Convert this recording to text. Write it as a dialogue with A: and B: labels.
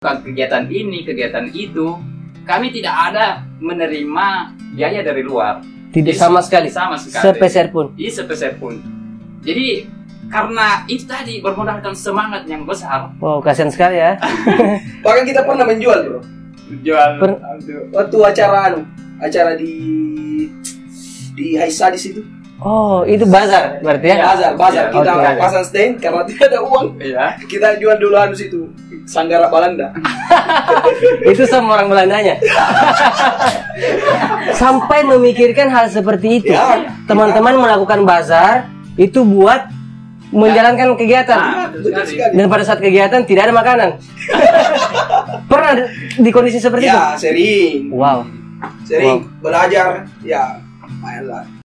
A: Bukan kegiatan ini, kegiatan itu. Kami tidak ada menerima biaya dari luar.
B: Tidak
A: Jadi,
B: Ya, sama sekali.
A: Sama sekali.
B: Sepeser pun.
A: Iya sepeser pun. Jadi karena itu tadi bermodalkan semangat yang besar
B: Wow, kasihan sekali ya.
C: Bahkan kita pernah menjual bro.
A: jual
B: Per-
A: aduh,
C: Waktu acara anu, acara di di Haisa di situ.
B: Oh, itu bazar berarti ya?
C: Bazar, bazar.
A: Iya,
C: kita
B: oke, ya. oke.
C: pasang stand karena tidak ada uang.
A: ya
C: Kita jual dulu anu situ. Sanggara Balanda.
B: itu sama orang Belandanya. Sampai memikirkan hal seperti itu.
C: Ya.
B: Teman-teman melakukan bazar itu buat menjalankan kegiatan.
A: Ah, betul sekali.
C: Betul sekali.
B: Dan pada saat kegiatan tidak ada makanan. Pernah di- di kondisi seperti itu?
C: Ya, sering.
B: Wow.
C: Sering belajar ya lumayan lah.